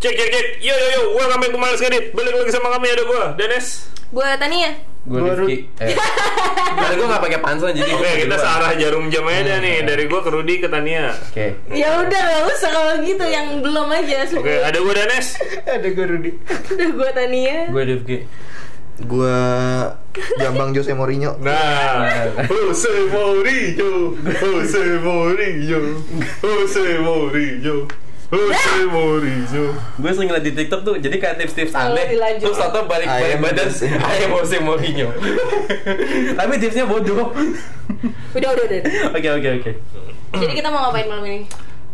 Cek cek cek. Yo yo yo, gua kami pemalas ngedit. Balik lagi sama kami ada gua, Dennis. Gue Tania. Gue Gua Rifki eh. Karena gue gak pakai panson jadi gue Oke, Hmm. kita duluan. searah jarum jam aja dah nih dari gua ke Rudi ke Tania. Oke Ya udah nggak usah kalau gitu yang belum aja. Oke, ada gua Dennis. Ada gue Rudi. Udah gue Tania. Gue Rifki Gue Jambang Jose Mourinho. Nah, Jose Mourinho, Jose Mourinho, Jose Mourinho. Jose Mourinho. Gue sering liat di tiktok tuh Jadi kayak tips-tips Oh, aneh dilanjut. Terus tau balik balik Ayam badan Jose. Ayam Jose Mourinho Tapi tipsnya bodoh Udah udah udah. Oke oke oke Jadi kita mau ngapain malam ini?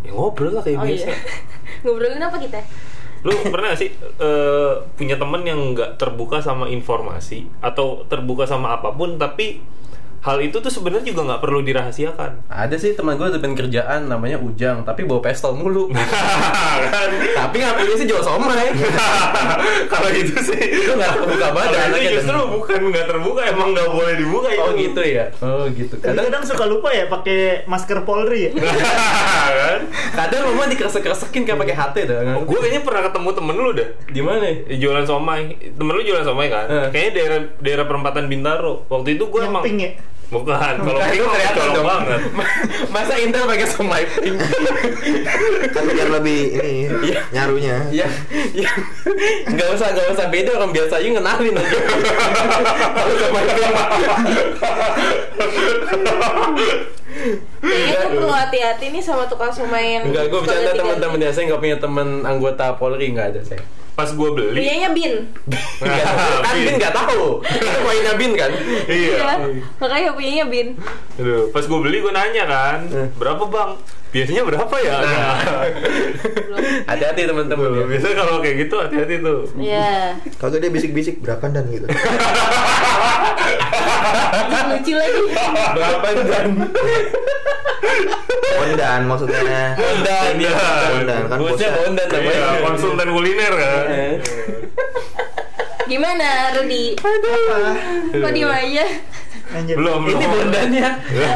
Ya ngobrol lah kayak Oh biasa. iya. Ngobrolin apa kita? Lu pernah gak sih eh, punya temen yang nggak terbuka sama informasi atau terbuka sama apapun tapi hal itu tuh sebenarnya juga nggak perlu dirahasiakan. Ada sih teman gue temen kerjaan namanya Ujang Tapi bawa pistol mulu Kan? Tapi ngambilnya sih jual somai Kalau itu sih Itu nggak terbuka banget Kalau anaknya, itu justru temen. bukan nggak terbuka, emang nggak boleh dibuka itu. Oh gitu ya Oh gitu Tapi Kadang kadang suka lupa ya pakai masker Polri ya. Iya, Iya, kan? kadang rumah dikeresek-keresekin kayak pakai HT dah Oh, gue kayaknya pernah ketemu temen lu dah di mana? jualan somai temen lu jualan somai kan Eh. kayaknya daerah daerah perempatan bintaro waktu itu gue Yang emang pink ya. bukan kalau Nah, pink itu mah ternyata colong dong. banget Masa Intel pakai somai pink? Kan biar lebih ini Iya. nyarunya. ya, ya. Nggak usah, nggak usah beda orang biasa aja ngenalin aja. Kalau somai pink. Kayaknya tuh perlu hati-hati nih sama tukang somai yang. Enggak, gue suka bercanda ganti-ganti. teman-teman ya. Saya nggak punya teman anggota Polri nggak ada saya. pas gue beli Nah, Punyanya Bin. Nggak tahu. kan Bin nggak tahu. Kita mainnya Bin kan. Iya. iya Makanya punyanya Bin. Aduh, pas gue beli gue nanya kan berapa bang biasanya berapa ya Nah. Hati-hati teman-teman. Tuh, ya. biasanya kalau kayak gitu hati-hati tuh Ya. Kagak dia bisik-bisik berapa dan gitu. Lucu lagi. Berapa dan? Pondan maksudnya. Bondan ya. Bondan, kan Bosnya bosan. Bondan namanya. iya konsultan kuliner kan Eh. Gimana Rudi? Kok diem aja? Anjir. belum belum Ini Bondannya. Bondan Iya,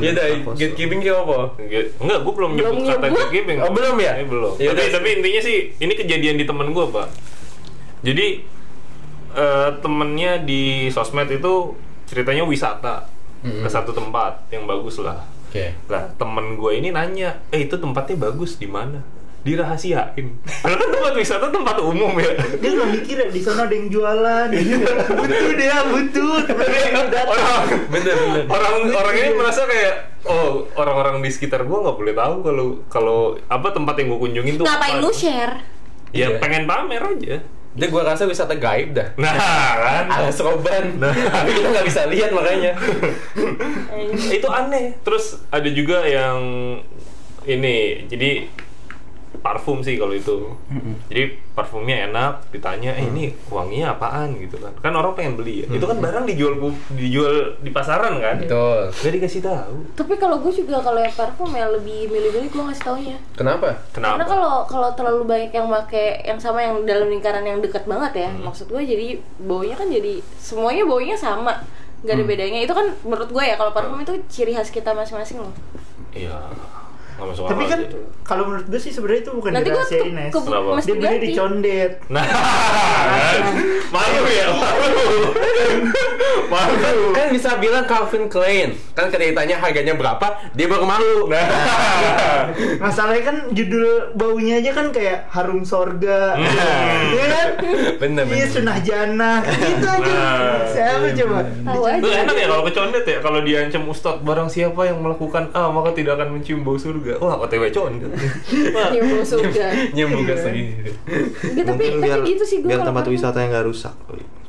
Ya udah, Prakoso. gatekeeping kayak apa? Enggak, gue belum Belum nyebut kata nyebut? gatekeeping. Oh, belum ya? Ini belum. Ya tapi, udah. tapi intinya sih, ini kejadian di temen gue, Pak. Jadi, eh, temennya di sosmed itu ceritanya wisata. Ke Hmm. satu tempat yang bagus lah. Oke. Lah, temen gue ini nanya, eh itu tempatnya bagus di mana? Dirahasiain. Padahal kan tempat wisata tempat umum ya. Dia nggak mikir ya di sana ada yang jualan. Iya. butuh dia, butuh. Oh, iya. orang, Bener bener. orang orang ini merasa kayak oh orang-orang di sekitar gua nggak boleh tahu kalau kalau apa tempat yang gua kunjungin tuh apa. Ngapain lu share? ya Iya. pengen pamer aja Dia gua rasa wisata gaib dah. nah kan Alas roban. Nah. Tapi kita nggak bisa lihat makanya. itu aneh terus ada juga yang ini jadi parfum sih kalau itu jadi parfumnya enak ditanya eh, Mm. ini wanginya apaan gitu kan kan orang pengen beli ya itu kan barang dijual pu- dijual di pasaran kan Betul. nggak dikasih tahu Tapi kalau gue juga kalau yang parfum ya lebih milih-milih gue ngasih taunya. Kenapa? Karena kenapa kalau kalau terlalu banyak yang make yang sama yang dalam lingkaran yang dekat banget ya, maksud gue jadi baunya kan jadi semuanya baunya sama, nggak ada bedanya. Itu kan menurut gue ya kalau parfum itu ciri khas kita masing-masing loh. iya gitu. nggak masuk Tapi akal kan sih. kalau menurut gue sih sebenarnya itu bukan Nanti gue ke, dirahasiain ya, Nes. ke Kenapa? mesti Dia beli ganti. di condet. Nah, malu ya, malu. malu. Kan bisa bilang Calvin Klein. Kan ketika ditanya harganya berapa, dia baru malu. Nah. Masalahnya kan judul baunya aja kan kayak harum sorga, iya kan? Bener, Iya bener. sunah jana, gitu aja. Nah. Siapa coba? Tahu aja. Itu enak ya kalau kecondet ya, kalau diancam ustadz barang siapa yang melakukan A maka tidak akan mencium bau surga. Wah, OTW condet. Iya. Nyium bau surga. Nyambung ke sini. Gitu, tapi Mungkin tapi biar, gitu sih gue biar kalau tempat parfum. wisata yang nggak rusak.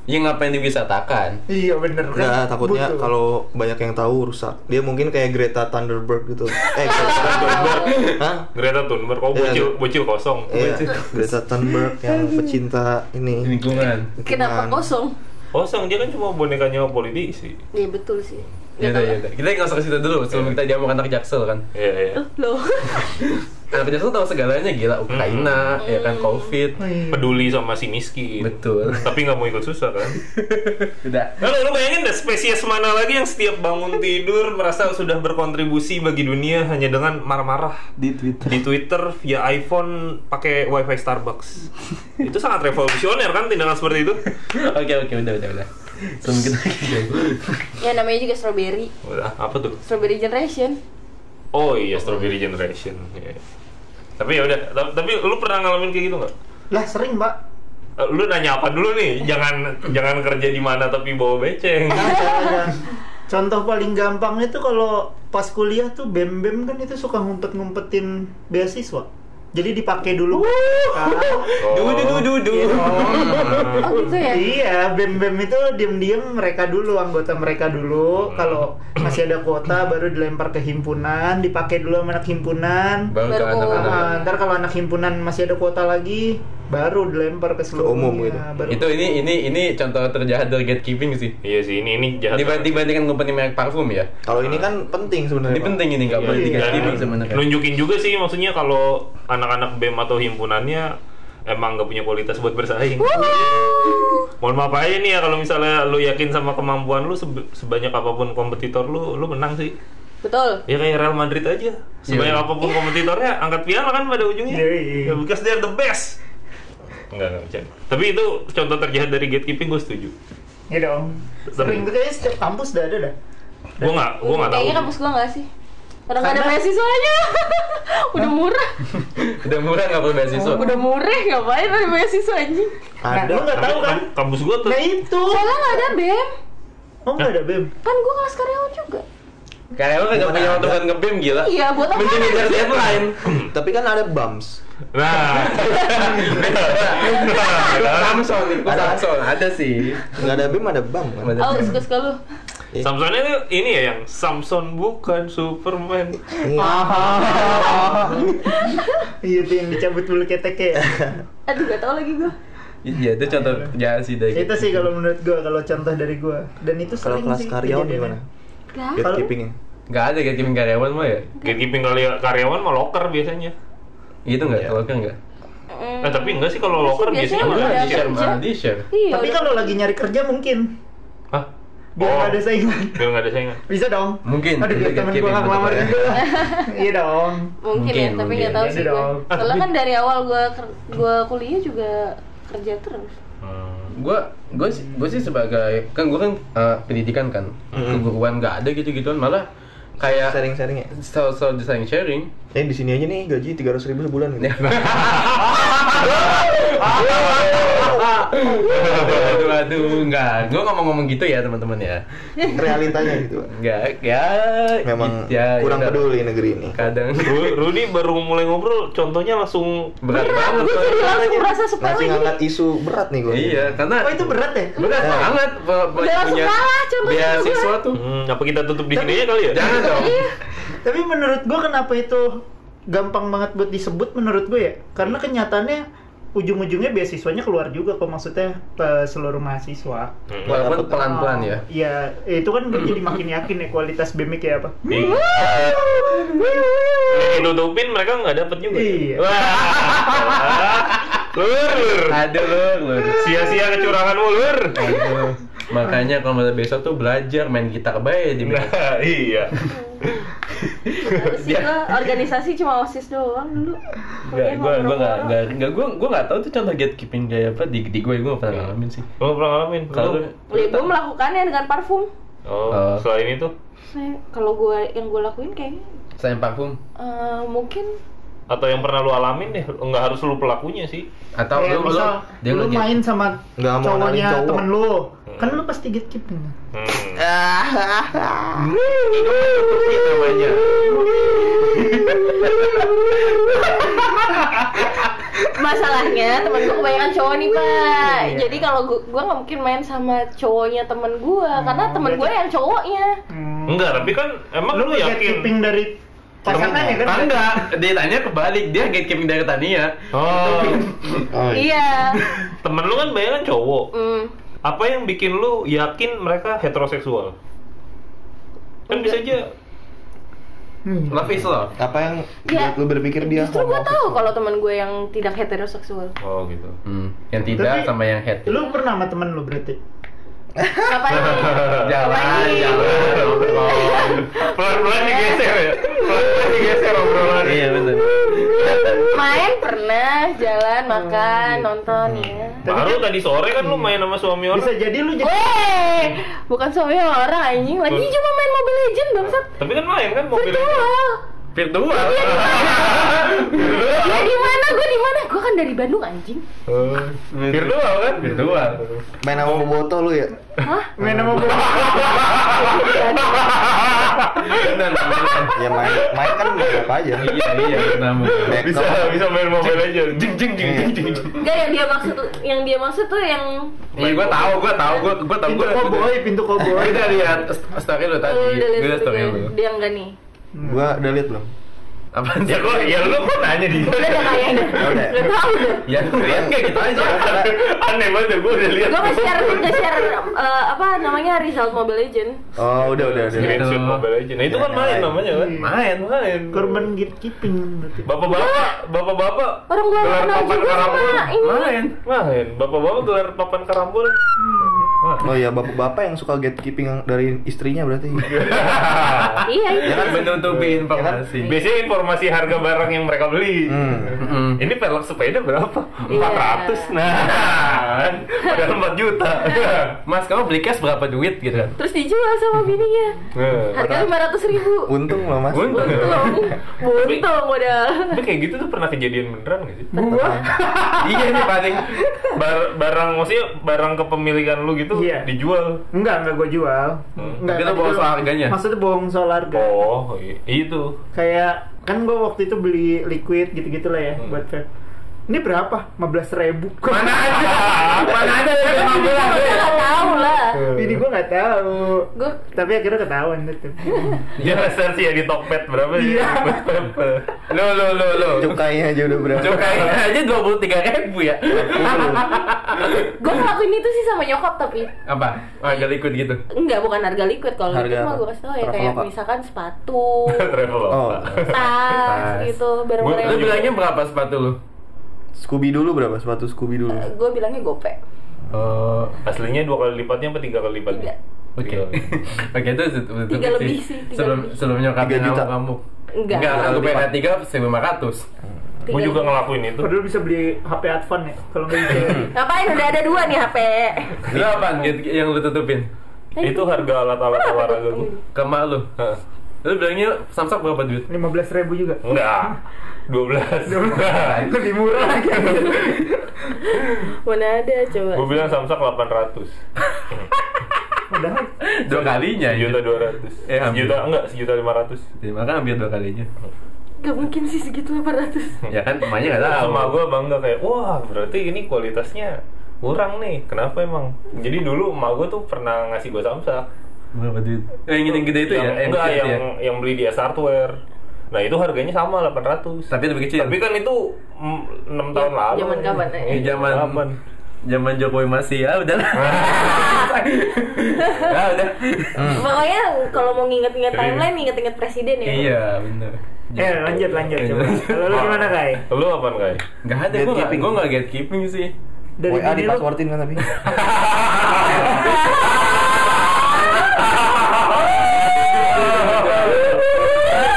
Ya ngapain diwisatakan? Iya bener kan? Enggak, takutnya Butuh. kalau banyak yang tahu rusak. Dia mungkin kayak Greta Thunberg gitu. Eh, Greta Thunberg. Hah? Greta Thunberg, kok Iya, bocil, iya. bocil kosong. Iya, Greta Thunberg yang pecinta ini. Lingkungan. Kenapa kosong? Kosong, dia kan cuma bonekanya politisi. Iya betul sih. Nggak Ya Iya. udah, tahu ya udah. Kita nggak usah ke situ dulu sebelum kita jamu anak jaksel kan. Iya, iya. lah. Loh. Nah, penyerta tahu segalanya gila Ukraina, ya kan COVID. peduli sama si miskin Betul. tapi nggak mau ikut susah kan Udah. lalu Nah, lu bayangin dah spesies mana lagi yang setiap bangun tidur merasa sudah berkontribusi bagi dunia hanya dengan marah-marah di Twitter. di Twitter via iPhone pakai WiFi Starbucks itu sangat revolusioner kan tindakan seperti itu Oke oke udah udah udah. Sebelum kita Ya namanya juga strawberry, Udah, apa tuh strawberry generation. oh iya Strawberry Generation Iya. tapi ya udah Ta- tapi lu pernah ngalamin kayak gitu nggak Lah sering, Pak. Eh, lu nanya apa dulu nih jangan jangan kerja di mana tapi bawa beceng Ada. Contoh paling gampang itu kalau pas kuliah tuh bem-bem kan itu suka ngumpet-ngumpetin beasiswa. Jadi dipakai dulu. Ah, Oh. Du du du du du. iya dong. Oh gitu ya. Iya, bem-bem itu diem-diem mereka dulu anggota mereka Hmm. dulu. Kalau masih ada kuota baru dilempar ke himpunan, dipakai dulu sama anak himpunan. Baru ke Baru Ah, anak-anak. ntar kalau anak himpunan masih ada kuota lagi, baru dilempar ke seluruh dunia, umum gitu. baru- Itu ini ini ini contoh terjahat dari gatekeeping sih. Iya sih, ini ini jahat. Dibanding dibandingkan company merek parfum ya. Kalau ini kan penting sebenarnya. Ini Pak. penting ini nggak Iya, boleh iya. digatekeeping Dan sebenarnya. Nunjukin juga sih maksudnya kalau anak-anak BEM atau himpunannya emang nggak punya kualitas buat bersaing. Mohon maaf aja nih ya kalau misalnya lu yakin sama kemampuan lu sebe- sebanyak apapun kompetitor lu, lu menang sih. Betul. Ya kayak Real Madrid aja. Sebanyak Iya. apapun kompetitornya angkat piala kan pada ujungnya. Iya, iya. Ya, because they're the best. Enggak, enggak, bercanda. Tapi itu contoh terjahat dari gatekeeping gue setuju. Iya dong. Sering tuh kayaknya setiap kampus udah ada dah. Gue nggak, gue nggak tahu. Kayaknya kampus gua nggak sih. Orang nggak ada Karena- beasiswanya. Udah murah. Udah murah nggak perlu beasiswa. Oh, Udah murah ngapain ada beasiswa anjing. Nah, lu Ada. nggak tahu Tapi kan? kamp- Kampus gue tuh. Nah itu. Soalnya nggak ada BEM. Oh nggak ada bem. Kan gua kelas karyawan juga. Kayak lu nggak punya waktu buat ngebem gila. Iya, buat apa? Mending ngejar deadline. Tapi kan ada bums. Nah, Samson, itu Samson ada sih. Nggak ada bim ada bam kan. Ada. Oh, suka-suka lu. Samson itu ini ya yang Samson bukan Superman. Iya tuh yang dicabut bulu keteknya. ya. Aduh, gak tau lagi gua. Iya itu contoh jahat sih dari. itu sih kalau menurut gua, kalau contoh dari gua. Dan itu Kalau sering kelas sih Iya, karyawan kejadiannya. gimana? Dah. Gatekeepingnya. Nggak ada gatekeeping karyawan mah ya. Gatekeeping karya- karyawan mau locker biasanya. Gitu nggak? Kalau kan nggak. Mm. Eh tapi enggak sih kalau locker biasanya Hmm. malah biasanya udah di share. Di-share, kerja. malah di-share. Iya. Tapi udah. kalau lagi nyari kerja mungkin Hah? biar Oh. nggak ada saingan. Biar nggak ada saingan. Bisa dong. Mungkin, Aduh, itu biar temen gatekeeping gua nggak ngelamar protokol ya. juga. Iya dong. mungkin, ya, Mungkin, tapi mungkin. nggak tahu Jadi sih gue. dong. Soalnya kan dari awal gue gue kuliah juga kerja terus. Hmm. Gue gue sih gue sih sebagai kan gue kan eh, pendidikan kan keguruan nggak ada gitu gituan malah kayak Sharing-sharing ya. selalu selalu desain sharing. Eh di sini aja nih gaji 300 ribu sebulan gitu. Iya. aduh aduh nggak. Gue ngomong-ngomong gitu ya teman-teman ya. Realitanya gitu. Pak. Nggak ya. Memang ya, kurang ya, peduli negeri ini. Kadang Ru- Rudy baru mulai ngobrol, contohnya langsung berat banget. Gue jadi langsung merasa sepele gitu. Ngasih gini. ngangkat isu berat nih gue. Iya karena Oh itu berat ya? berat banget bu- buat Udah langsung punya kalah, contohnya beasiswa tuh. Hmm, apa kita tutup di sini aja kali ya? Jangan dong. Iya. Tapi menurut gua kenapa itu gampang banget buat disebut menurut gue ya? Karena kenyataannya ujung-ujungnya beasiswanya keluar juga kok maksudnya eh, seluruh mahasiswa. Hmm. Walaupun pelan-pelan ya. Iya, itu kan gue jadi makin yakin ya kualitas BEMI kayak apa. Iya. Yang ditutupin mereka nggak dapet juga. Iya. Wah. Lur, lur. Aduh lur, lur. Sia-sia kecuranganmu, lur. Aduh. Makanya kalau mau besok tuh belajar main gitar baik di Nah, iya. Terus sih gue organisasi cuma osis doang dulu. Gak, Kuliah gue gue nggak ngobrol-ngobrol. nggak nggak gue gue nggak tahu tuh contoh gatekeeping kayak apa di di gue gue nggak pernah ngalamin sih. Lo Oh, pernah ngalamin? Kalau Lu- Ya, gue melakukannya dengan parfum. Oh, Eh. selain itu Saya- Kalau gue yang gue lakuin kayaknya saya parfum eh, mungkin atau yang pernah lu alamin deh, nggak harus lu pelakunya sih. atau Oh, lu Kayak lu misal dia lu lagi main sama Nggak mau cowoknya kenalin cowok. temen lu, Hmm. kan lu pasti gatekeeping. Hmm. namanya. masalahnya temen gue kebanyakan cowok nih pak. Iya. Jadi kalau gue gue nggak mungkin main sama cowoknya temen gue Hmm, karena temen gue berarti- yang cowoknya. Hmm. Enggak, tapi kan emang Lu lu, gatekeeping yakin. dari pasangannya kan? Ah, Enggak, ditanya kebalik dia gatekeeping dari ya. Tania. Oh, Oh, iya. Iya. temen lu kan bayangkan cowok. Hmm. Apa yang bikin lu yakin mereka heteroseksual? Kan bisa Enggak. aja Hmm. Love is love. Apa yang Ya, buat lu berpikir dia Justru gue homofobik? tahu kalau teman gue yang tidak heteroseksual. Oh gitu. Hmm. Yang tidak Tapi- sama yang head. Lu pernah sama temen lu berarti? Ngapain? Ya, Jangan, Ngapain? jangan. Pelan-pelan digeser ya. Pelan-pelan digeser obrolan. Iya benar. Main pernah, jalan, Oh, makan, iya. nonton Hmm. ya. Baru tadi sore kan lu main sama suami orang. Bisa jadi lu jadi Weh, bukan suami orang anjing lagi cuma main Mobile Legend bangsat. Tapi kan main kan mobil. Virtual. Virtual. Dia Ya, di mana? Gue di mana? Gue kan dari Bandung anjing. Virtual kan? Virtual. Main sama Boboto lu ya? Hah? main sama gue. Benar. benar. Ya main, main kan nggak apa aja. Iya iya benar. benar. Back Bisa up. bisa main mobil aja. Jing jing jing jing jing. Enggak yang dia maksud yang dia maksud tuh yang Iya gue tahu, gue tahu, gue gue tahu Pintu gue. koboi, pintu Gue koboi. udah lihat st- story lu tadi. eh, udah Gue lihat udah story video. lu. dia enggak nih. Gua udah liat belum? Apaan sih? Ya kok ya lu kok nanya dia. Udah udah kayaknya. udah. Udah tahu udah. Ya lihat kayak gitu aja. Aneh banget ya, gua udah lihat. Gue nge-share nge-share eh, apa namanya result Mobile Legend. Oh, udah, udah, udah. Gitu. Screenshot Mobile Legends. Nah itu kan main namanya kan? Main. Main. Iya, Korban gatekeeping berarti. Bapak-bapak, bapak-bapak. Orang gua gelar kenal papan juga karambol. sama ini. Main. Main. Bapak-bapak gelar papan karambol. Oh ya bapak-bapak yang suka gatekeeping yang dari istrinya berarti. Iya Ya itu. kan menutupi informasi. Biasanya informasi harga barang yang mereka beli. Hmm. Mm. Ini pelek sepeda berapa? Iya. 400 nah kan? Padahal 4 juta Mas, kamu beli cash berapa duit gitu kan? Terus dijual sama bininya. Nah. Harga 500 ribu. Untung loh mas. Untung. Untung, untung modal. Tapi kayak gitu tuh pernah kejadian beneran gak sih? iya nih paling. Bar- barang, maksudnya barang kepemilikan lu gitu Iya. dijual Enggak, enggak gue jual. Enggak, Hmm, Tapi lu tadi bawa ya? gua- soal harganya. Maksudnya bohong soal harga. Oh, i- itu Kayak kan gue waktu itu beli liquid gitu-gitu lah ya Hmm. buat vape. Ini berapa? 15 ribu. Mana ada? Mana ada yang lima belas? Gue nggak tahu lah. Ini gue nggak tahu. Gue Tapi akhirnya ketahuan itu. Hmm. Dia research ya di Tokped berapa sih? Iya. Lo lo lo lo. Cukainya aja udah berapa? Cukainya aja dua puluh tiga ribu ya. gue ngelakuin itu sih sama nyokap tapi Apa? Harga liquid gitu. enggak bukan harga liquid kalau Harga liquid mah apa? gue kasih tau ya kayak Traveloka. misalkan sepatu, Travel Oh, tas gitu barang-barang. Lu bilangnya berapa sepatu lu? Scooby dulu berapa? Sepatu Scooby dulu. Gue bilangnya gope. Oh, Aslinya dua kali lipatnya apa tiga kali lipatnya? Tiga. Oke, oke itu itu- itu- Tiga itu lebih sih, tiga sebelum lebih. sebelum nyokap Tiga juta. kamu. Enggak. Enggak, aku Lebih, pengen Pak. tiga seribu lima ratus. Gue juga ngelakuin itu Padahal bisa beli HP Advan ya. Kalau nggak bisa. Hmm. Ngapain udah ada dua nih HP. Lu apaan gitu yang lu tutupin? Itu harga alat-alat olahraga gue Ke emak lu. Lu bilangnya Samsak berapa duit? 15 ribu juga. Enggak 12 Lebih murah lagi. Mana ada coba. Gue bilang Samsak 800 Padahal Dua kalinya Juta ya. 200 Eh, hampir. Juta enggak, sejuta 500 Terima kan hampir dua kalinya. Gak mungkin sih segitu 800 Ya kan emaknya enggak tahu. Sama gue bangga kayak Wah berarti ini kualitasnya kurang nih Kenapa emang? Jadi dulu emak gue tuh pernah ngasih gue Samsak Berapa duit? Eh, yang gede itu ya? yang, Yang enggak, kecil yang, itu ya? yang beli di S Hardware Nah itu harganya sama 800 Tapi lebih kecil. Tapi kan itu 6 tahun lalu. zaman kapan, eh? Iya, zaman zaman Jokowi masih ya udahlah. ya udah. Hmm. Makanya kalau mau nginget-nginget Jadi- timeline, nginget-nginget presiden ya Iya, benar. eh lanjut lanjut coba. Kalau lu gimana Kai? Lu apa Kai? Enggak ada gua enggak Gatekeeping. gua enggak gatekeeping sih. Dari WA bini di lu passwordin kan tapi.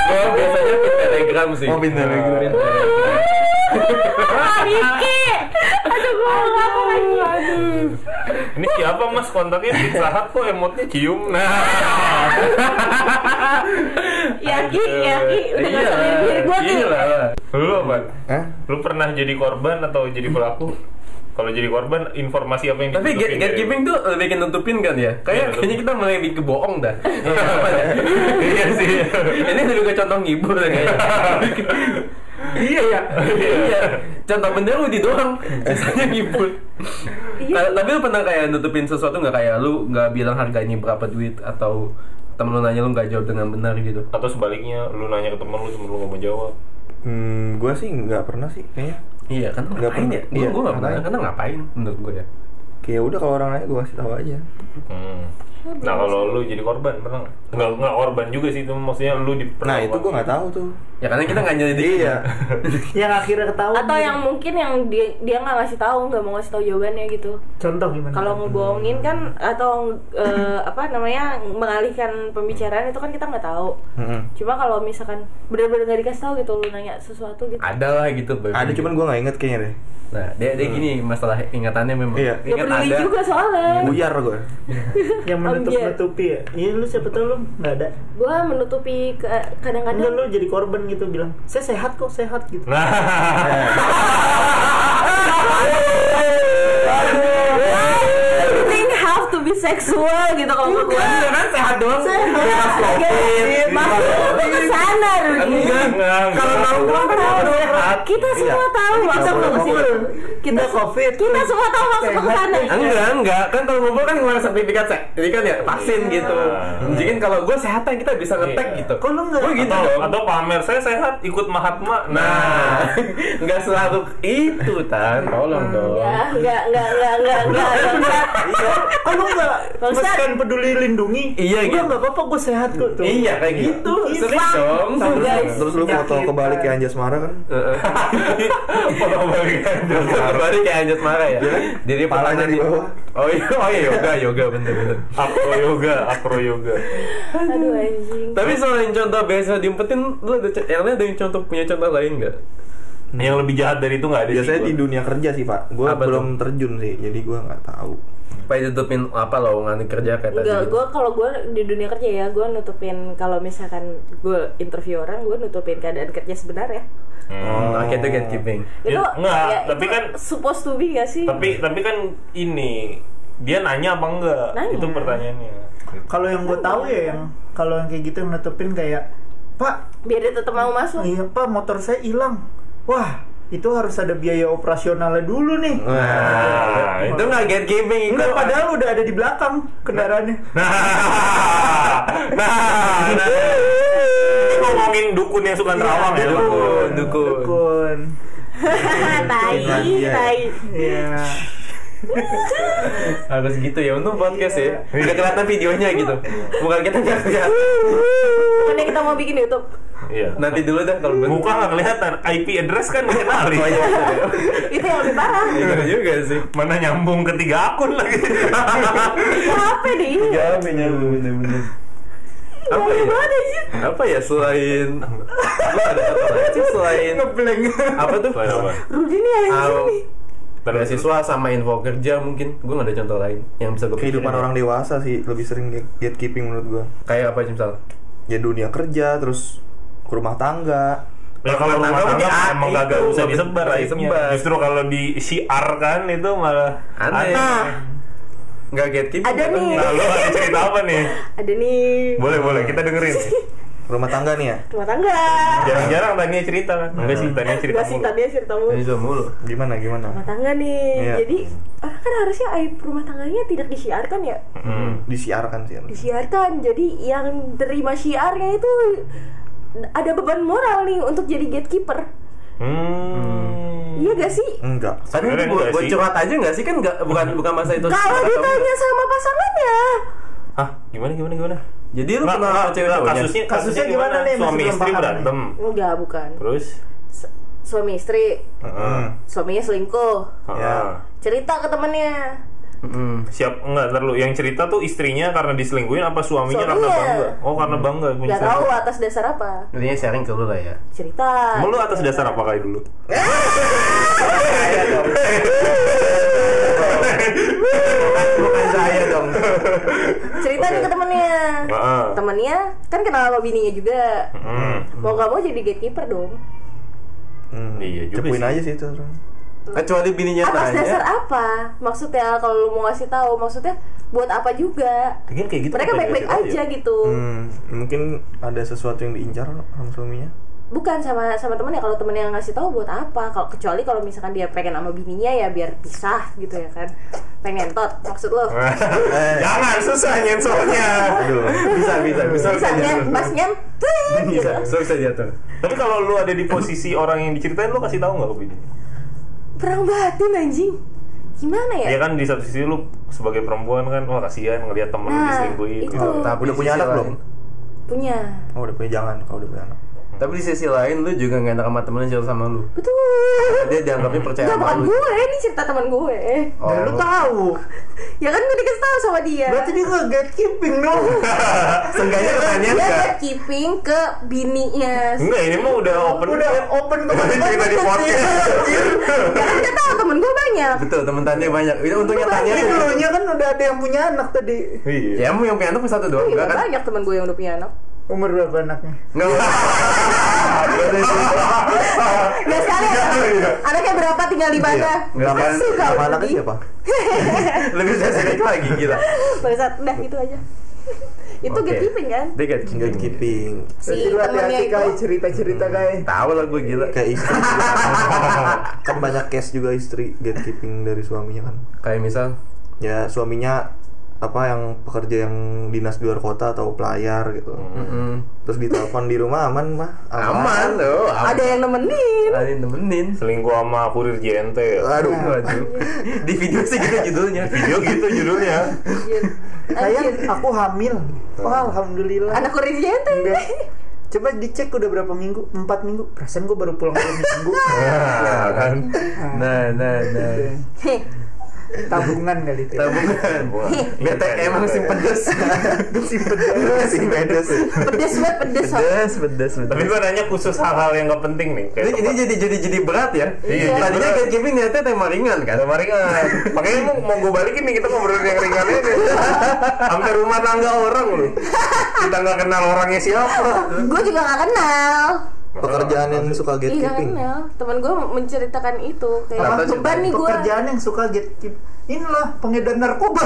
Gua biasanya pin Telegram sih. Oh, pin Telegram. Pin Telegram. Ah, Riki! Aduh, gue apa lagi Ini siapa Mas kontaknya Pizza Hut kok emotnya cium. Nah. Yaki, Yaki, udah gak Iya, usah lirik gue tuh iya lah. Lu apa? Hah? Lu pernah jadi korban atau jadi pelaku? Kalau jadi korban, informasi apa yang Tapi ditutupin gate- dari lu? gatekeeping tuh lebih ke nutupin kan ya? Iya, Kayak betul. kayaknya kita mulai di kebohong dah. Apa dah? Iya sih. Ini juga contoh ngibur dah kayaknya. Iya ya. Iya. Contoh bener Udi doang. Sisanya ngibur. Ta- Tapi lu pernah kayak nutupin sesuatu nggak kayak lu nggak bilang harganya berapa duit atau temen lu nanya lu nggak jawab dengan benar gitu? Atau sebaliknya, lu nanya ke temen lu, temen lu gak mau jawab. Hmm, gua sih nggak pernah sih kayaknya. Iya kan Nggak ngapain pernah. ya? Gue Iya, gue nggak pernah. makanya. Karena ngapain menurut gue ya. Kayak udah kalau orang nanya gua kasih tahu aja. Hmm. Nah kalau lu jadi korban pernah nggak? Nggak nggak korban juga sih itu maksudnya lu di Nah itu gue nggak tahu tuh. Ya karena kita nggak jadi Iya. yang akhirnya ketahuan atau gitu. yang mungkin yang dia dia nggak ngasih tahu nggak mau ngasih tahu jawabannya gitu contoh gimana kalau ngebohongin kan atau eh, apa namanya mengalihkan pembicaraan itu kan kita nggak tahu Mm-mm. cuma kalau misalkan benar-benar nggak dikasih tahu gitu lu nanya sesuatu gitu ada lah gitu. Bang. Ada cuman gue nggak inget kayaknya deh. Nah dia dia gini masalah ingatannya memang. Iya. nggak Hmm. Iya. Ingat peduli ada. juga soalnya Buyar gue. yang menutup Anjir. nutupi ya Oh, iya lu siapa tau lu nggak ada gua menutupi ke- Enggak kadang-kadang lu jadi korban gitu bilang saya sehat kok sehat gitu Nah, everything have to be sexual gitu kalau menurut gua Iya kan sehat doang. Sehat, gitu. Maksudnya tuh kesana Rudy Enggak, Kalau enggak. nongkrong kan Tahu. sehat. kita Iya. semua tahu maksud boleh lu covid. kita Nggak covid. kita semua tahu maksud lu kesana Iya, Enggak, enggak. Kan kalau ngumpul kan ngeluarin sertifikat sek. Jadi kan ya vaksin gitu. Nah. Mungkin kalau gue sehatan kita bisa ngetek Iya. gitu. Kok lu nggak? Gue gitu atau, dong. atau pamer saya sehat ikut Mahatma. Nah, Nah, nggak selalu itu tan. Tolong dong. Ya, enggak, enggak, enggak, enggak, Iya, enggak, enggak. Oh lu nggak? Bang Ustaz. kan Bukan peduli lindungi Iya, Gua gitu. nggak apa-apa gue sehat kok tuh Iya kayak gitu. Sering dong. Tuh, guys. Terus lu foto Nyakitan. kebalik kayak Anjas Mara kan? foto balikan dulu. Kembali kayak anjat marah Iya. ya. Jadi Palanya di bawah. Oh iya, oh iya yoga, yoga bener-bener. Akro yoga, akro yoga. Aduh anjing. Tapi selain contoh biasa diumpetin, lu ada, Elnya ada yang contoh punya contoh lain nggak? Yang lebih jahat dari itu nggak ada. sih Biasanya gua. di dunia kerja sih pak. Gue Iya, Apa belum terjun sih, jadi gue nggak tahu. Pak tutupin apa lowongan kerja kayak tadi? gitu. Enggak, gue kalau gue di dunia kerja ya, gue nutupin kalau misalkan gue interview orang, gue nutupin keadaan kerja sebenarnya. Hmm, akhirnya itu gatekeeping. Ya, Itu enggak, tapi itu kan- supposed to be gak sih? Tapi tapi kan ini dia nanya apa enggak? Nanya. Itu pertanyaannya. Kalau yang gue tahu ya yang kalau yang kayak gitu yang nutupin kayak Pak, biar dia tetap mau masuk. iya Pak motor saya hilang. Wah, itu harus ada biaya operasionalnya dulu nih. Nah, Itu nggak gatekeeping, itu Enggak, padahal udah ada di belakang kendaraannya. Nah, nah, nah. Ini ngomongin dukun yang suka nerawang Iya, ya, dukun. dukun. dukun. Dukun. iya, tai, lagi ya. tai. Iya. harus gitu ya. Untung podcast ya. Udah kelihatan videonya gitu. Bukan kita nggak lihat. Bukannya kita mau bikin YouTube. Iya. Nanti dulu dah kalau bener. Muka nggak kelihatan, IP address kan dikenali. Oh, iya, bener ya. Itu yang lebih parah. Iya bener juga sih. Mana nyambung ketiga akun lagi. Iya, Apa deh? Ya bener-bener. Apa ya? Apa ya selain lu ada apa lagi sih selain Ngeblank. apa tuh? Selain apa? Rudy nih anjing Au- nih. Iya, Beasiswa sama info kerja mungkin Gue gak ada contoh lain yang bisa gue Kehidupan orang dewasa sih lebih sering gate- gatekeeping menurut gue. Kayak apa sih misalnya? Ya dunia kerja, terus rumah tangga. Ya kalau rumah Tangga tangga mungkin emang A, kagak itu usah nggak disebar bisa aibnya. disebar. Justru kalau disiarkan itu malah Aneh. Gak gatekeeping Ada tapi nih. Nah, lu ada cerita apa nih? Ada nih Boleh, boleh, kita dengerin. Rumah tangga nih ya? rumah tangga. Jarang-jarang Tania cerita kan? Enggak sih, Tania Iya, cerita Gak sih mulu. Iya. tadi cerita mulu. Beasiswa mulu Gimana gimana? rumah tangga nih. Iya. Jadi ah, kan harusnya aib rumah tangganya tidak disiarkan ya. Hmm. Disiarkan sih. harus. Disiarkan. Jadi yang terima siarnya itu ada beban moral nih untuk jadi gatekeeper. Hmm. Iya gak sih? Enggak. Tapi itu Sebenarnya buat, nggak buat sih? curhat aja nggak sih kan nggak bukan bukan masa itu. Kalau ditanya sama pasangannya, Hah, gimana gimana gimana? Jadi lu Nggak, pernah sama cewek lu kasusnya, Kasusnya gimana nih? Masih Suami belum istri paham berantem. enggak bukan. Terus? Su- Suami istri, Heeh. suaminya selingkuh. Ya. Heeh. Cerita ke temannya. Mm-mm. Siap enggak terlalu yang cerita tuh istrinya karena diselingkuhin apa suaminya karena Suaminya. bangga? Oh, karena bangga punya Gak Hmm. tahu atas dasar apa. Intinya sharing ke lu lah ya. Cerita. Mau lu atas dasar apa kali dulu? Bukan saya dong. cerita nih ke temannya. Heeh. Temannya kan kenal sama bininya juga. Hmm. Mau gak mau jadi gatekeeper dong. Hmm. Iya juga Cepuin sih. aja sih itu. orang. Kecuali bininya Atas dasar tanya. apa? Maksudnya kalau lu mau ngasih tahu, maksudnya buat apa juga? Mungkin kayak gitu. Mereka apa baik-baik dikasih aja tahu ya? gitu. Hmm, mungkin ada sesuatu yang diincar sama suaminya. Bukan sama sama temennya kalau temennya ngasih tahu buat apa? Kalau kecuali kalau misalkan dia pengen sama bininya ya biar pisah gitu ya kan. Pengen tot maksud lu. Eh, Jangan susah nyensornya. aduh. Bisa bisa bisa Bisa nyem, pas nyem, tuing, gitu. Bisa so bisa diatur. Tapi kalau lu ada di posisi orang yang diceritain lu kasih tahu nggak ke bini? Perang batin anjing. gimana ya? Ya kan di satu sisi lu sebagai perempuan kan wah kasihan ngelihat temen lu Nah, diselingkuhin itu. gitu. Tapi Nah, udah punya sisi anak belum? lain- Punya. Oh, udah punya jangan kalau udah punya anak. Tapi di sisi lain lu juga gak enak sama temennya jauh sama lu. Betul. Dia dianggapnya percaya Gak sama bukan lu. gue, ini cerita teman gue. Oh, Dan Nah, lu tahu. Ya kan gue dikasih tahu sama dia. Berarti dia nggak gatekeeping dong. Seenggaknya dia pertanyaan enggak. gatekeeping ke bininya. Enggak, ini mah udah open. Udah open ke Ini cerita Iya. di podcast. Ya kan gak tahu temen gue banyak. Betul, temen tanya banyak. Ini untungnya tanya. Ini dulunya kan udah ada yang punya anak tadi. Iya. Ya emang yang punya anak cuma satu doang, Iya, enggak kan? banyak temen gue yang udah punya anak. Umur berapa anaknya? Enggak. Iya. Gak sekali ya? Iya. Anaknya berapa tinggal di mana? Nggak apa- Masuk nggak kau Nama anaknya lagi. siapa? Lebih spesifik lagi gila. Bangsat, udah gitu aja. Itu Oke. gatekeeping kan? Dia gak Gatekeeping. Si Jadi lu Iya, temennya hati-hati itu. kai cerita-cerita kai. Tahu lah gue gila. Kayak istri. kan banyak case juga istri gatekeeping dari suaminya kan. Kayak misal Ya suaminya apa yang pekerja yang dinas di luar kota atau pelayar gitu. mm, Terus ditelepon di rumah aman mah. aman loh. Ada yang nemenin. ada yang nemenin. Selingkuh sama kurir JNT ya. Aduh. Waduh. Di video sih gitu judulnya. Video gitu judulnya. Anjir. Sayang, Anjir. aku hamil. Oh, alhamdulillah. Anak Rizente. Enggak. Coba dicek udah berapa minggu? Empat minggu. Perasaan gue baru pulang dua minggu. Nah, kan. Nah, nah, nah. Heh. Tabungan kali itu. Tabungan. iya, Bete emang sih pedes. Si pedes. Pedes banget, pedes. Sob. Pedes, pedes, Tapi pedes. gua nanya khusus hal-hal yang gak penting nih. Ini, Kayak ini jadi jadi jadi berat ya. Iya, jadi Tadinya berat. kayak Kevin niatnya tema ringan kan. Sama ringan. Makanya mau, mau gue balikin nih kita ngobrolin yang ringan aja. Sampai rumah tangga orang loh. Kita nggak kenal orangnya siapa. Gue juga gak kenal. Pekerjaan yang suka Iya gak gatekeeping. kenal. Temen gue menceritakan itu kayak Apa? beban nih gue. Pekerjaan yang suka gatekeep. Inilah pengedar narkoba.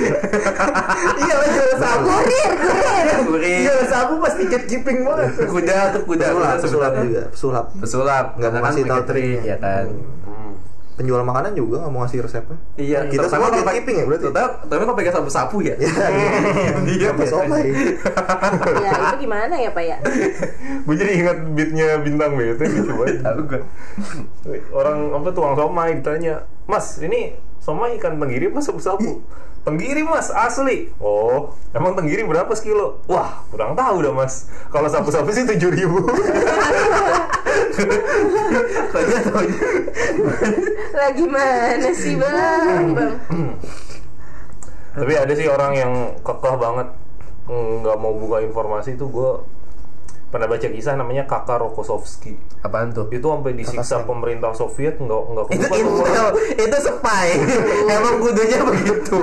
Iya lah jual sabu. Ah, Kurir, kurir. Kurir. Iya, Jual sabu pasti gatekeeping banget. Kuda tuh kuda. kuda Pesulap, pesulap sebutannya. juga, pesulap. Pesulap. ya. Nggak mau karena kan ngasih tahu pakai trik triknya. ya kan. Penjual makanan juga nggak mau ngasih resepnya. Iya, kita terutama semua kalau pakai- gatekeeping ya berarti. terutama- Tapi kok pegang sapu-sapu ya? Iya, Diam pas ya. obai. Ya itu gimana ya pak ya? Gue jadi ingat beatnya bintang bete gitu banget. Tahu gue. Orang apa tuang somai ditanya, Mas ini somai ikan tenggiri mas sabu sabu. Tenggiri mas asli. Oh, emang tenggiri berapa sekilo? Wah, kurang tahu dah mas. Kalau sabu-sabu sih tujuh ribu. Tanya taunya Lah gimana sih bang? bang? Tapi ada sih orang yang kekeh banget nggak mau buka informasi tuh gue pernah baca kisah namanya Kakak Rokossovski apaan tuh? itu sampai disiksa pemerintah Soviet nggak nggak itu kebuka tuh intel, orang. itu spy. Emang kudunya begitu.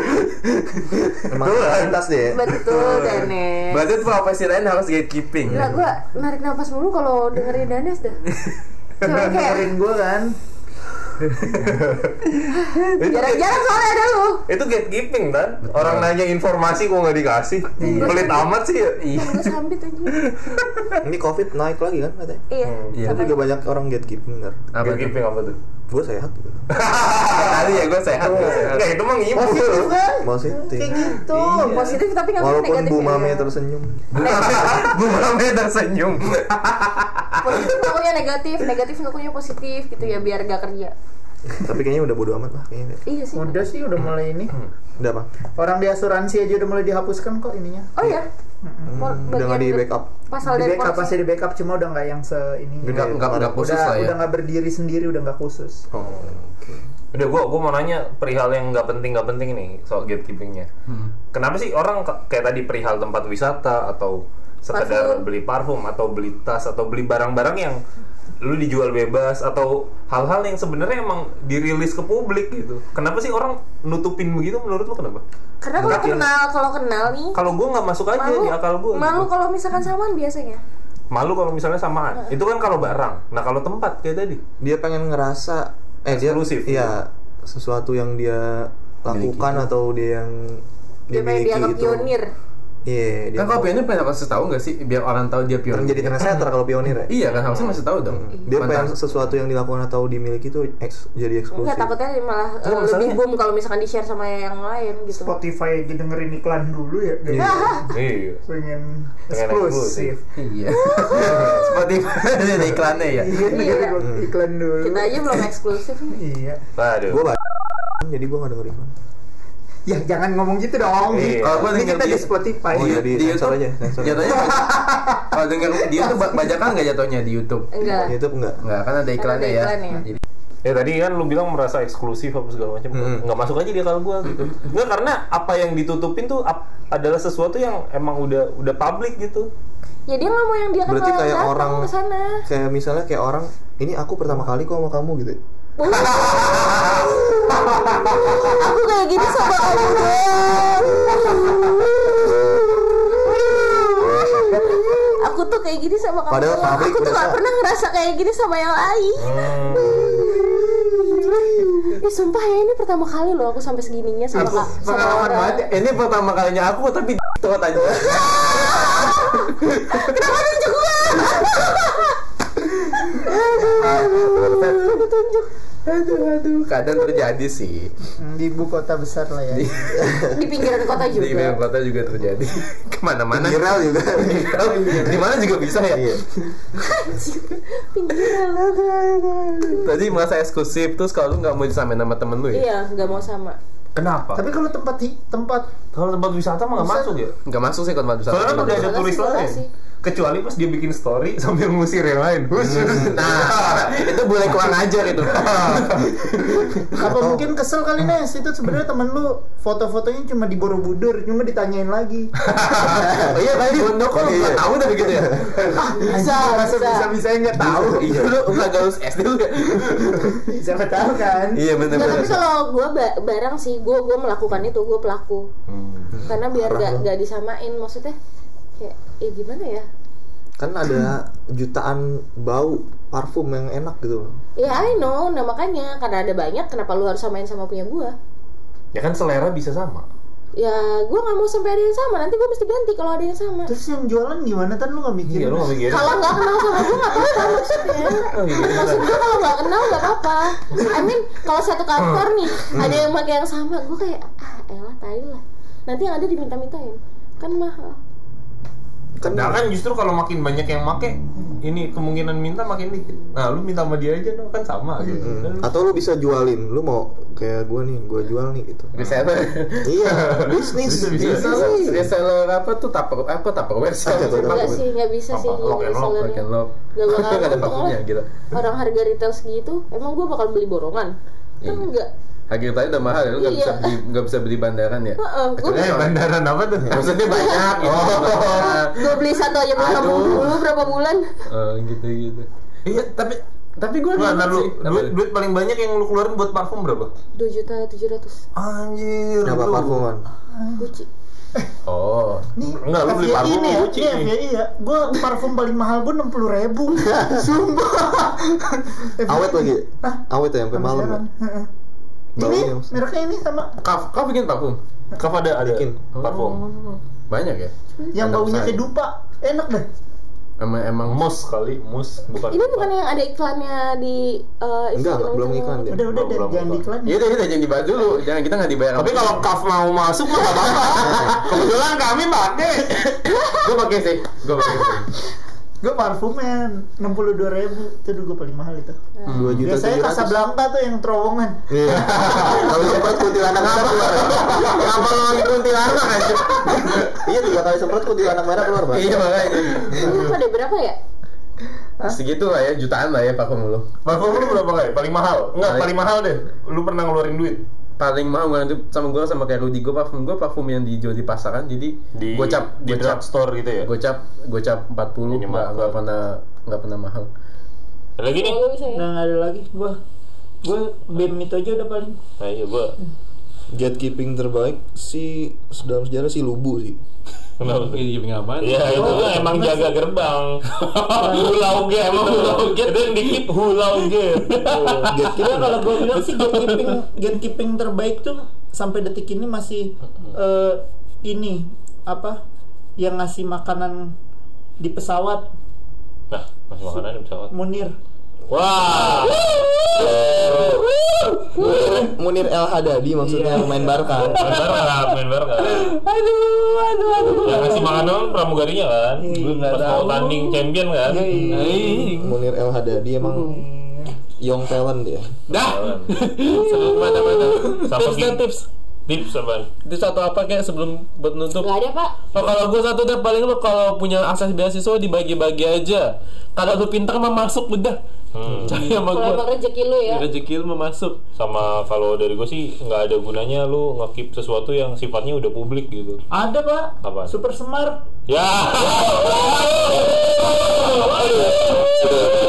Emang lintas deh. ya. Betul Danes. Berarti profesi lain harus gatekeeping. Gila gue narik nafas mulu kalau dengerin Danes dah. Cuma kayak Dengerin gue kan. itu gate- jarang-jarang soalnya ada lu. itu gatekeeping kan orang nanya informasi kok nggak dikasih pelit amat sih ya Iya. Gue sambit aja. Ini covid naik lagi kan katanya. Iya. Oh, Iya. Itu sama juga banyak orang gatekeeping ntar. Apa tuh? gatekeeping apa tuh Gue sehat. gitu. Tadi ya gue sehat, gue sehat. nggak itu mah ngibul Positif kan? Positif. Kayak gitu. Tuh, positif tapi nggak boleh Walaupun negatif. Bu ya. Mame tersenyum. Bu Mame tersenyum. Positif ngakunya negatif, negatif ngakunya positif gitu ya biar gak kerja. Tapi kayaknya udah bodo amat lah kayaknya. Iya sih. Udah sih udah mulai ini. Udah apa? Orang di asuransi aja udah mulai dihapuskan kok ininya. Oh ya. Hmm, udah nggak di backup. Pasal Di dari backup polisi. pasti di backup cuma udah nggak yang se ini. Gede. Enggak enggak enggak khusus udah lah ya. udah nggak berdiri sendiri udah nggak khusus. Oh, oke. udah gue gue mau nanya perihal yang nggak penting nggak penting nih soal gatekeepingnya kenapa sih orang ke- kayak tadi perihal tempat wisata atau sekedar Parfum. beli parfum atau beli tas atau beli barang-barang yang lu dijual bebas atau hal-hal yang sebenarnya emang dirilis ke publik gitu kenapa sih orang nutupin begitu menurut lu kenapa Karena kalau Enggak, ya. kenal, kalau kenal nih kalau gue nggak masuk aja malu, di akal gitu. gue malu kalau misalkan ya. samaan biasanya. malu kalau misalnya samaan itu kan kalau barang nah kalau tempat kayak tadi Dia pengen ngerasa eh dia Eksklusif. Iya, sesuatu yang dia lakukan atau dia yang Dia pengen dimiliki dianggap itu. pionir. Iya, dia Kan kalau pionir pengen harus tahu nggak sih biar orang tahu dia pengen pionir. jadi trendsetter kalau pionir ya. Iya kan harusnya masih tahu dong. Dia Bukan pengen tak- sesuatu yang dilakukan atau dimiliki itu eks- jadi eksklusif. Enggak takutnya malah eh, Kalau lebih misalnya- boom kalau misalkan di share sama yang lain gitu. Spotify aja dengerin iklan dulu ya. guys. iya Pengen Pengen eksklusif. eksklusif. Iya. Seperti ada iklannya ya. Iya, Iya. dengerin iklan dulu. Kita aja belum eksklusif nih. Iya. aduh Gua jadi gua nggak dengerin Ya jangan ngomong gitu dong. Iya. Kalau gua Ini denger kita di dia. Spotify. Oh, iya, Iya. di- sensor aja, sensor aja. Jatuhnya kalau denger di YouTube ba- bajakan nggak jatuhnya di YouTube? Enggak. Ya, itu enggak Enggak, kan ada iklannya ada ya. iklannya. Nah, jadi- Ya tadi kan lu bilang merasa eksklusif apa segala macam. Hmm. Nggak masuk aja dia kalau gua gitu. Nggak karena apa yang ditutupin tuh ap- adalah sesuatu yang emang udah udah publik gitu. Ya dia nggak mau yang dia kan berarti kalau kayak datang orang ke sana. kayak misalnya kayak orang ini aku pertama kali kok sama kamu gitu Aku kayak gini sama kamu dong. Aku tuh kayak gini sama kamu. Padahal doang. pabrik aku tuh udah gak tahu. pernah ngerasa kayak gini sama yang lain. Ih sumpah ya ini pertama kali loh aku sampai segininya sama kak. sama Pengalaman orang. banget. ya. Ini pertama kalinya aku tapi tuh aja. Kenapa nunjuk gua? Aduh, Tunjuk aduh, aduh. Kadang terjadi sih. Di ibu kota besar lah ya. di pinggiran kota juga. Di ibu kota juga terjadi. Kemana-mana. viral juga Di mana juga bisa ya. Iya. pinggiran. Tadi merasa eksklusif terus kalau lu nggak mau disamain sama temen lu ya. Iya nggak mau sama. Kenapa? Tapi kalau tempat hi- tempat kalau tempat wisata mah nggak masuk ya. Nggak masuk sih kalau bisa. Soalnya kan udah ada Soalnya turis sih nggak lain. kasih. Kecuali pas dia bikin story sambil ngusir yang lain. Hmm. Nah, itu boleh kurang ajar itu. Oh apa Atau- Hmm. mungkin kesel kali Nes itu sebenarnya temen lu foto-fotonya cuma di Borobudur cuma ditanyain lagi oh iya tadi Bondo kok lu nggak tahu tapi gitu ya. bisa bisa bisa bisa nggak tahu Iya lu nggak lulus SD lu ya. siapa tahu kan Iya benar Nggak, benar. tapi kalau gue barang sih, gue gue melakukan itu, gue pelaku. Hmm. Karena biar gak, gak disamain, maksudnya kayak, eh gimana ya? kan ada jutaan bau parfum yang enak gitu loh Ya I know, nah makanya karena ada banyak, kenapa lu harus samain sama punya gue? Ya kan selera bisa sama. Ya gue nggak mau sampai ada yang sama, nanti gue mesti ganti kalau ada yang sama. terus yang jualan gimana tan lu nggak mikir Iya lu nggak mikirin. Kalau nggak kenal sama gue nggak apa-apa maksudnya. Oh, iya, iya. Maksud gue kalau nggak kenal nggak apa-apa. I mean kalau satu kantor nih ada yang pakai yang sama, gue kayak ah elah tai lah. Nanti yang ada diminta-mintain, kan mahal. kan Nah kan justru kalau makin banyak yang make ini kemungkinan minta makin dikit. Nah lu minta sama dia aja dong kan sama gitu. Kan lu- Mm. atau lu bisa jualin lu mau kayak gua nih gua jual nih gitu Reseller. iya bisnis Bisa, bisa. Reseller, reseller Ya, apa tuh tupper apa tupperware sih? Apa tuh? Enggak sih, nggak bisa Apa? sih Lock and lock, sellernya. Makan lo. Gak bakal Gak ada untung pakunya lah. gitu. Orang harga retail segitu, emang gue bakal beli borongan? Kan Iya. enggak. Harga tadi udah mahal ya, lu nggak Iya. bisa beli nggak bisa beli bandaran ya. Heeh, gue Eh bandaran apa tuh? Maksudnya banyak gitu. gue beli satu aja berapa Aduh. dulu berapa bulan? Eh, gitu-gitu. Iya tapi Tapi gue Nah, nah, lu, duit, duit duit paling banyak yang lu keluarin buat parfum berapa? Dua juta tujuh ratus. Anjir. apa lu. parfuman Gucci. Oh. Enggak, lu beli FYI parfum nih ya, Gucci iya, nih. FYI ya. Gue parfum paling mahal gue 60 ribu Sumpah awet lagi Hah? awet ya sampai malam ya Heran. Heeh. Ini baunya maksudnya. mereknya ini sama Kau, kau bikin parfum? Kau ada ada Bikin. parfum. Banyak ya? Yang Ada baunya pesan. kayak dupa Enak deh Emang emang Mus kali, mus bukan. Ini bukan yang ada iklannya di eh, enggak enggak belum Instagram iklan sama- deh Udah udah Bau- deh, bau- jangan bau. diiklan Ya udah, udah jangan dibahas dulu. Jangan kita nggak dibayar. Tapi kalau kaf mau masuk mah enggak apa-apa. Kebetulan kami pakai. gue pakai sih, gue pakai sih. Gue parfumnya 62 ribu Itu gue paling mahal itu dua juta Biasanya tujuh ratus Casablanca tuh yang terowongan iya kalau semprot kuntilanak merah keluar ya. Kenapa lo lagi kuntilanak aja? iya tiga kali semprot kuntilanak merah keluar pak Iya makanya. Ini lupa deh berapa ya? Segitu lah ya, jutaan lah ya parfum lo. Parfum lu berapa kali? Paling mahal? Enggak, Paling- paling mahal deh. Lu pernah ngeluarin duit? Paling mahal gue nanti sama gue sama kayak Rudy gue parfum gue parfum yang dijual di pasaran jadi Di gocap di gocap drugstore gitu ya. gocap gocap 40 Minimal. nggak nggak pernah nggak pernah mahal. Lagi nih. Kalau bisa ya. Udah nggak ada lagi Gue Gue BEM itu aja udah paling Ayo, Nah, iya, gua. gatekeeping terbaik si dalam sejarah si lubu sih Kenapa? tuh? Ini ngapain? Ya itu kan emang jaga gerbang. Hula uge emang hula uge. Itu yang dikit hula uge. Kira kalau gue bilang sih gatekeeping gatekeeping terbaik tuh sampai detik ini masih eh, ini apa yang ngasih makanan di pesawat Nah, masih makanan di pesawat. Munir. Wah. Munir El Hadadi maksudnya yang main Iya. Barca Main bareng kan, main bareng kan. Aduh, aduh, aduh. Yang ngasih makanan pramugarinya kan. Iya, Pas mau tanding champion kan. Iya, iya. Munir El Hadadi emang young talent ya. Dah. Sebelum mana mana. Sama Tips dan gini. tips. Tips apa? Tips satu apa kayak sebelum buat nutup? Gak ada pak Oh, kalau gue satu deh paling lu kalau punya akses beasiswa dibagi-bagi aja. Kalau lu pintar mah masuk udah. Hmm. Cari sama Iya, Kalau emang gue. rezeki lu ya Rezeki lu mah masuk. Sama kalau dari gue sih nggak ada gunanya lu ngekip sesuatu yang sifatnya udah publik gitu. Ada pak. Apa? Super Smart. Ya. Aduh.